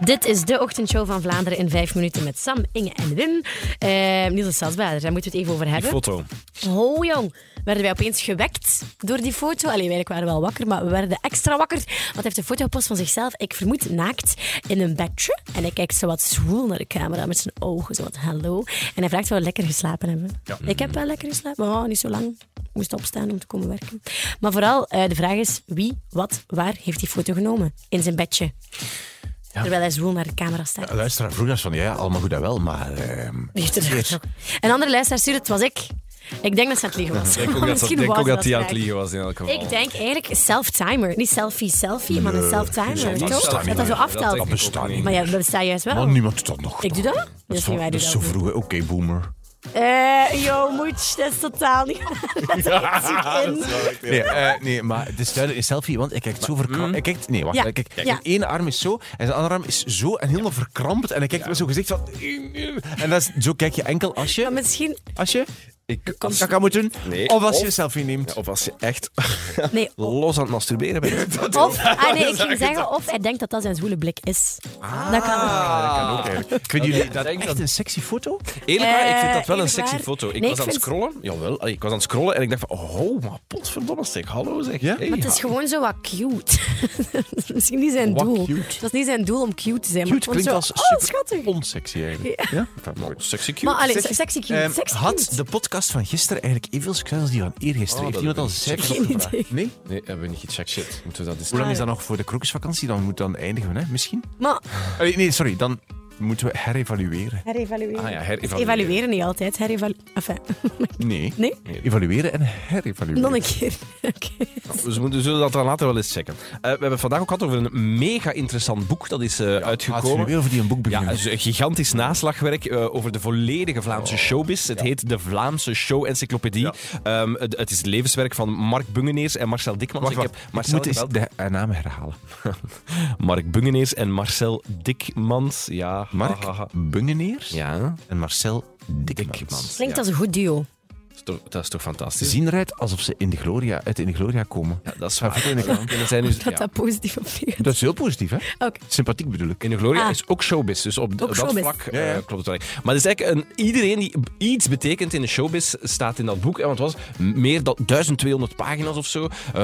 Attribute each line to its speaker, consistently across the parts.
Speaker 1: Dit is de ochtendshow van Vlaanderen in vijf minuten met Sam, Inge en Wim. Eh Niels Stadsbader, daar moeten we het even over hebben.
Speaker 2: Foto.
Speaker 1: Oh jong, werden wij opeens gewekt door die foto. Allee, wij waren wel wakker, maar we werden extra wakker. Want hij heeft een foto gepost van zichzelf, ik vermoed naakt, in een bedje. En hij kijkt zo wat zwoel naar de camera met zijn ogen, zo wat hallo. En hij vraagt wel lekker geslapen hebben. Ik heb wel lekker geslapen, maar oh, niet zo lang. Ik moest opstaan om te komen werken. Maar vooral, eh, de vraag is, wie, wat, waar heeft die foto genomen? In zijn bedje. Terwijl hij zwoel naar de camera staat.
Speaker 2: Luisteraar vroeg dat van, ja, allemaal goed en wel, maar... ehm,
Speaker 1: Wie heeft
Speaker 2: Yes.
Speaker 1: er getrokken? Een andere luisteraar stuurde, het was ik. Ik denk dat ze aan het liegen was.
Speaker 3: Ik denk ook dat,
Speaker 1: Misschien
Speaker 3: denk
Speaker 1: was
Speaker 3: ook
Speaker 1: ze
Speaker 3: dat hij aan het
Speaker 1: eigenlijk.
Speaker 3: liegen was in elk geval.
Speaker 1: Ik denk eigenlijk self-timer. Niet selfie, selfie, maar een
Speaker 2: zo'n
Speaker 1: self-timer.
Speaker 2: zelftimer.
Speaker 1: Toch? Dat dat zo
Speaker 2: Dat
Speaker 1: aftelt.
Speaker 3: denk ik
Speaker 2: Dat bestaat
Speaker 3: ook
Speaker 2: niet.
Speaker 1: maar ja, we bestaan juist wel.
Speaker 2: Maar niemand doet dat nog.
Speaker 1: Ik doe dat? Dat is niet
Speaker 2: van-
Speaker 1: waar, doe
Speaker 2: Dat is zo
Speaker 1: dat.
Speaker 2: vroeg, hè. oké, boomer.
Speaker 1: Eh, yo, moets, dat is totaal niet. waar. Dat zit in.
Speaker 2: Nee, eh, nee, maar het is duidelijk een selfie, want ik kijk zo
Speaker 3: mm.
Speaker 2: verkrampt. Ik kijk, nee, wacht.
Speaker 1: Ja.
Speaker 2: Ik kijk,
Speaker 1: Ja.
Speaker 2: Mijn ene arm is zo, en zijn andere arm is zo, en helemaal verkrampt. En ik kijk met zo'n gezicht van... En dat is, zo kijk je enkel als
Speaker 1: Maar
Speaker 2: je...
Speaker 1: misschien.
Speaker 2: Als je...
Speaker 3: Ik,
Speaker 2: Als moet doen.
Speaker 3: Nee,
Speaker 2: of als je
Speaker 3: of-
Speaker 2: een selfie neemt.
Speaker 3: of als je echt
Speaker 1: Nee,
Speaker 3: los aan het masturberen bent.
Speaker 1: of. Ah, nee, ik ging zeggen. Of hij denkt dat dat zijn zwoele blik is.
Speaker 3: Ah.
Speaker 1: dat kan ook.
Speaker 2: Vinden jullie
Speaker 3: ik
Speaker 2: dat
Speaker 3: denk
Speaker 2: echt
Speaker 3: dat-
Speaker 2: een sexy foto?
Speaker 3: Eerlijk waar, ik vind dat
Speaker 1: Eh,
Speaker 3: wel een
Speaker 1: eerlijk
Speaker 3: sexy
Speaker 1: waar.
Speaker 3: foto. Ik
Speaker 1: Nee, ik
Speaker 3: was aan
Speaker 1: vind-
Speaker 3: het scrollen. Jawel, allee, ik was aan het scrollen en ik dacht van, oh, maar potverdomme zeg, hallo zeg.
Speaker 2: Ja?
Speaker 3: Hey,
Speaker 1: Maar het is gewoon zo wat cute. Dat is misschien niet zijn
Speaker 2: Wat
Speaker 1: doel.
Speaker 2: cute.
Speaker 1: Dat is niet zijn doel om cute te zijn. maar
Speaker 2: Cute
Speaker 1: het
Speaker 2: klinkt
Speaker 1: wordt
Speaker 2: als
Speaker 1: zo,
Speaker 2: super
Speaker 1: Oh, schattig.
Speaker 2: onsexy eigenlijk. Ja?
Speaker 3: ja, maar Sexy cute.
Speaker 1: Maar allee,
Speaker 2: Zeg,
Speaker 1: sexy cute.
Speaker 2: Ehm,
Speaker 1: sexy
Speaker 2: had
Speaker 1: cute.
Speaker 2: de podcast van gisteren eigenlijk evenveel succes als die van eergisteren?
Speaker 3: Oh,
Speaker 2: Heeft
Speaker 3: dat
Speaker 2: iemand
Speaker 3: heb
Speaker 2: al
Speaker 3: ik niet
Speaker 2: cijfers
Speaker 1: Geen
Speaker 2: opgevraagd?
Speaker 1: idee. Ah,
Speaker 2: Nee?
Speaker 3: Nee, hebben we niet gecheckt. Shit, moeten we dat eens...
Speaker 2: Hoe lang is dat nog voor de krokusvakantie? Dan, moet, dan eindigen we, hè? misschien?
Speaker 1: Maar
Speaker 2: Allee, nee, sorry. Dan moeten we herevalueren.
Speaker 1: herevalueren.
Speaker 3: Ah ja, herevalueren.
Speaker 1: Evalueren niet altijd. Herevalueren. Enfin,
Speaker 2: Nee.
Speaker 1: nee?
Speaker 2: Evalueren en herevalueren.
Speaker 1: Nog een keer. Oké.
Speaker 3: Dus we moeten- zullen dat dan later wel eens checken. Eh, we hebben het vandaag ook gehad over een mega interessant boek. Dat is eh,
Speaker 2: Gaat het nu
Speaker 3: uitgekomen.
Speaker 2: weer over die een boek
Speaker 3: Ja,
Speaker 2: beginnen?
Speaker 3: het is een gigantisch naslagwerk eh, over de volledige Vlaamse
Speaker 2: Oh.
Speaker 3: showbiz. Het heet de Vlaamse Show-encyclopedie. Ehm, het, het is het levenswerk van Mark Bungeneers en Marcel Dikmans.
Speaker 2: Wacht,
Speaker 3: Ik
Speaker 2: wacht.
Speaker 3: heb
Speaker 2: Ik
Speaker 3: Marcel
Speaker 2: moet eens
Speaker 3: gebeld.
Speaker 2: de eh, naam herhalen.
Speaker 3: Mark Bungeneers en Marcel Dikmans. Ja.
Speaker 2: Mark
Speaker 3: hahaha.
Speaker 2: Bungeneers
Speaker 3: Ah, Ja.
Speaker 2: en Marcel Dikmans.
Speaker 3: Dikmans.
Speaker 1: Klinkt
Speaker 3: Ja.
Speaker 1: als een goed duo.
Speaker 3: Dat is toch, dat is toch
Speaker 2: Ze
Speaker 3: fantastisch?
Speaker 2: zien eruit alsof ze in de Gloria, uit in de Gloria komen.
Speaker 3: Ja, dat is
Speaker 2: Ga
Speaker 3: waar.
Speaker 2: verder in de krant.
Speaker 3: En dat zijn dus,
Speaker 1: Dat
Speaker 3: ja.
Speaker 1: dat positief opvliegt.
Speaker 2: Dat is heel positief, hè?
Speaker 1: Oké.
Speaker 2: Sympathiek bedoel ik.
Speaker 3: In de Gloria
Speaker 1: Ah.
Speaker 3: is ook showbiz, dus op d-
Speaker 1: Ook
Speaker 3: dat
Speaker 1: showbiz.
Speaker 3: vlak
Speaker 2: Ja, ja.
Speaker 3: eh, klopt het wel. Maar het is eigenlijk een, iedereen die b- iets betekent in de showbiz staat in dat boek. En want het was meer dan 1200 pagina's of zo. Eh,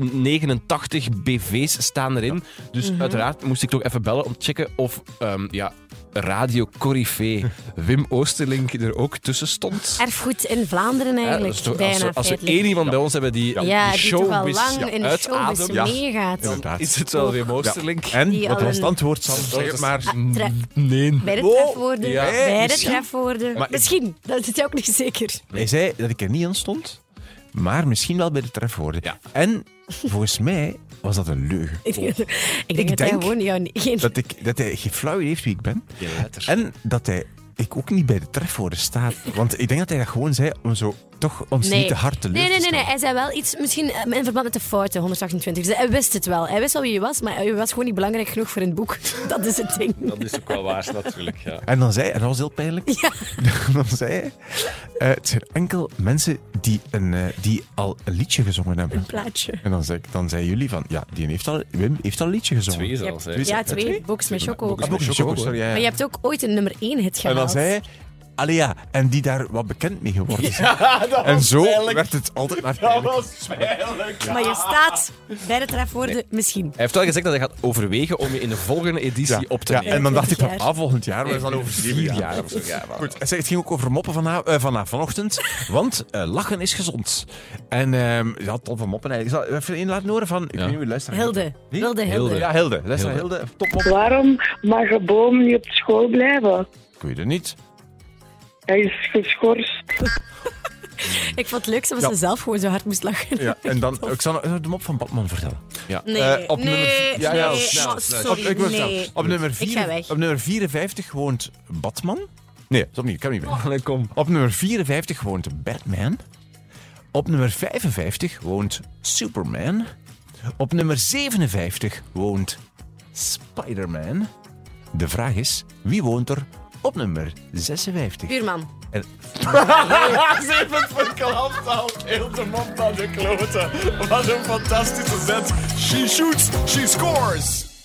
Speaker 3: 1089 BV's staan erin. Dus
Speaker 1: Mhm.
Speaker 3: uiteraard moest ik toch even bellen om te checken of ehm, ja, radio Corifee Wim Oosterlink er ook tussen stond.
Speaker 1: Erfgoed in Vlaanderen
Speaker 3: Hè,
Speaker 1: eigenlijk.
Speaker 3: dat is toch- als,
Speaker 1: bijna
Speaker 3: we- als we
Speaker 1: feitelijk.
Speaker 3: één iemand bij ons hebben die,
Speaker 1: ja,
Speaker 3: die
Speaker 1: die toch al
Speaker 3: showbiz
Speaker 1: lang
Speaker 3: ja,
Speaker 1: in de showbiz
Speaker 3: uitademt,
Speaker 1: meegaat.
Speaker 2: Ja. Inderdaad.
Speaker 3: is het wel Wim Oosterlink.
Speaker 2: En,
Speaker 1: Die
Speaker 2: wat
Speaker 1: al
Speaker 2: was het
Speaker 1: een-
Speaker 2: antwoord, Sam? Zeg het maar.
Speaker 1: Ah, Tref-
Speaker 3: Nee.
Speaker 1: Bij de
Speaker 2: Wow.
Speaker 1: trefwoorden.
Speaker 3: Ja.
Speaker 1: Bij de
Speaker 2: Misschien.
Speaker 1: trefwoorden.
Speaker 2: Maar-
Speaker 1: Misschien. Dat is ook niet zeker.
Speaker 2: Hij zei dat ik er niet aan stond, maar misschien wel bij de trefwoorden.
Speaker 3: Ja.
Speaker 2: En volgens mij was dat een leugen.
Speaker 1: Ik denk, ik denk
Speaker 2: Ik
Speaker 1: dat hij
Speaker 2: denk
Speaker 1: gewoon jou niet- geen...
Speaker 2: Dat, ik, dat hij geen flauw idee heeft wie ik ben.
Speaker 3: Geen letters.
Speaker 2: En dat hij ik ook niet bij de trefwoorden staat. Want ik denk dat hij dat gewoon zei om zo toch ons niet te hard te
Speaker 1: nee,
Speaker 2: leuren
Speaker 1: nee,
Speaker 2: te
Speaker 1: nee, nee. Hij
Speaker 2: stellen.
Speaker 1: zei wel iets, misschien eh, in verband met de fouten, 128. Dus hij wist het wel. Hij wist wel wie je was, maar hij was gewoon niet belangrijk genoeg voor in het boek. Dat is het ding.
Speaker 3: Dat is ook wel waar, natuurlijk. Ja.
Speaker 2: En dan zei hij, en dat was heel pijnlijk, dan zei hij, eh, het zijn enkel mensen die, een, eh, die al een liedje gezongen hebben.
Speaker 1: Een plaatje.
Speaker 2: En dan, zei, ik- dan zeiden jullie van, ja, die heeft al, Wim heeft al een liedje gezongen.
Speaker 3: Twee zelfs.
Speaker 1: Ja,
Speaker 3: hè.
Speaker 1: ja, twee. Box met choco.
Speaker 2: Ah, Box met Choco, sorry, ja, ja.
Speaker 1: Maar je hebt ook ooit een nummer 1 hit
Speaker 2: En
Speaker 1: gehaald.
Speaker 2: dan zei hij, allee ja, en die daar wat bekend mee geworden zijn. en zo werd het altijd maar pijnlijk.
Speaker 1: Maar je staat bij de trefwoorden misschien.
Speaker 3: Hij heeft wel gezegd dat hij gaat overwegen om je in de volgende editie
Speaker 2: Ja,
Speaker 3: op te
Speaker 2: ja,
Speaker 3: nemen.
Speaker 2: en dan dacht ik van,
Speaker 1: Jaar.
Speaker 2: ah, volgend jaar, maar dat is dan over vier jaar.
Speaker 3: of zo. Ja, maar-
Speaker 2: Goed, hij zei, het ging ook over moppen vanaf, eh, vanaf vanochtend, want eh, lachen is gezond. En ehm ja, top van moppen. eigenlijk. Ik zal even één laten horen van, ik weet niet wie luistert.
Speaker 1: Hilde.
Speaker 2: Wie?
Speaker 1: Wilde Hilde.
Speaker 3: Hilde.
Speaker 2: Ja, Hilde. Luister, Hilde. Top mop.
Speaker 4: Waarom mag een boom niet op school blijven?
Speaker 2: Ik weet het niet.
Speaker 4: Hij is geschorst.
Speaker 1: Ik vond het leuk dat
Speaker 2: Ja.
Speaker 1: ze zelf gewoon zo hard moest lachen.
Speaker 2: Ja, en dan, ik zal nog de mop van Batman vertellen.
Speaker 1: Nee,
Speaker 2: Eh, op
Speaker 1: nee,
Speaker 2: nummer vier- ja,
Speaker 1: nee,
Speaker 2: ja,
Speaker 1: oh,
Speaker 2: snel,
Speaker 3: snel.
Speaker 1: sorry,
Speaker 2: Op- ik wil
Speaker 1: nee.
Speaker 2: snel. Op nummer,
Speaker 1: Ik ga
Speaker 2: vier,
Speaker 1: weg.
Speaker 2: op nummer 54 woont Batman. Nee, dat opnieuw, ik kan niet meer.
Speaker 3: Allee, kom.
Speaker 2: Op nummer 54 woont Batman. Op nummer 55 woont Superman. Op nummer 57 woont Spider-Man. De vraag is, wie woont er op nummer 56?
Speaker 1: Buurman.
Speaker 2: En
Speaker 5: Wat een fantastische zet. She shoots, she scores.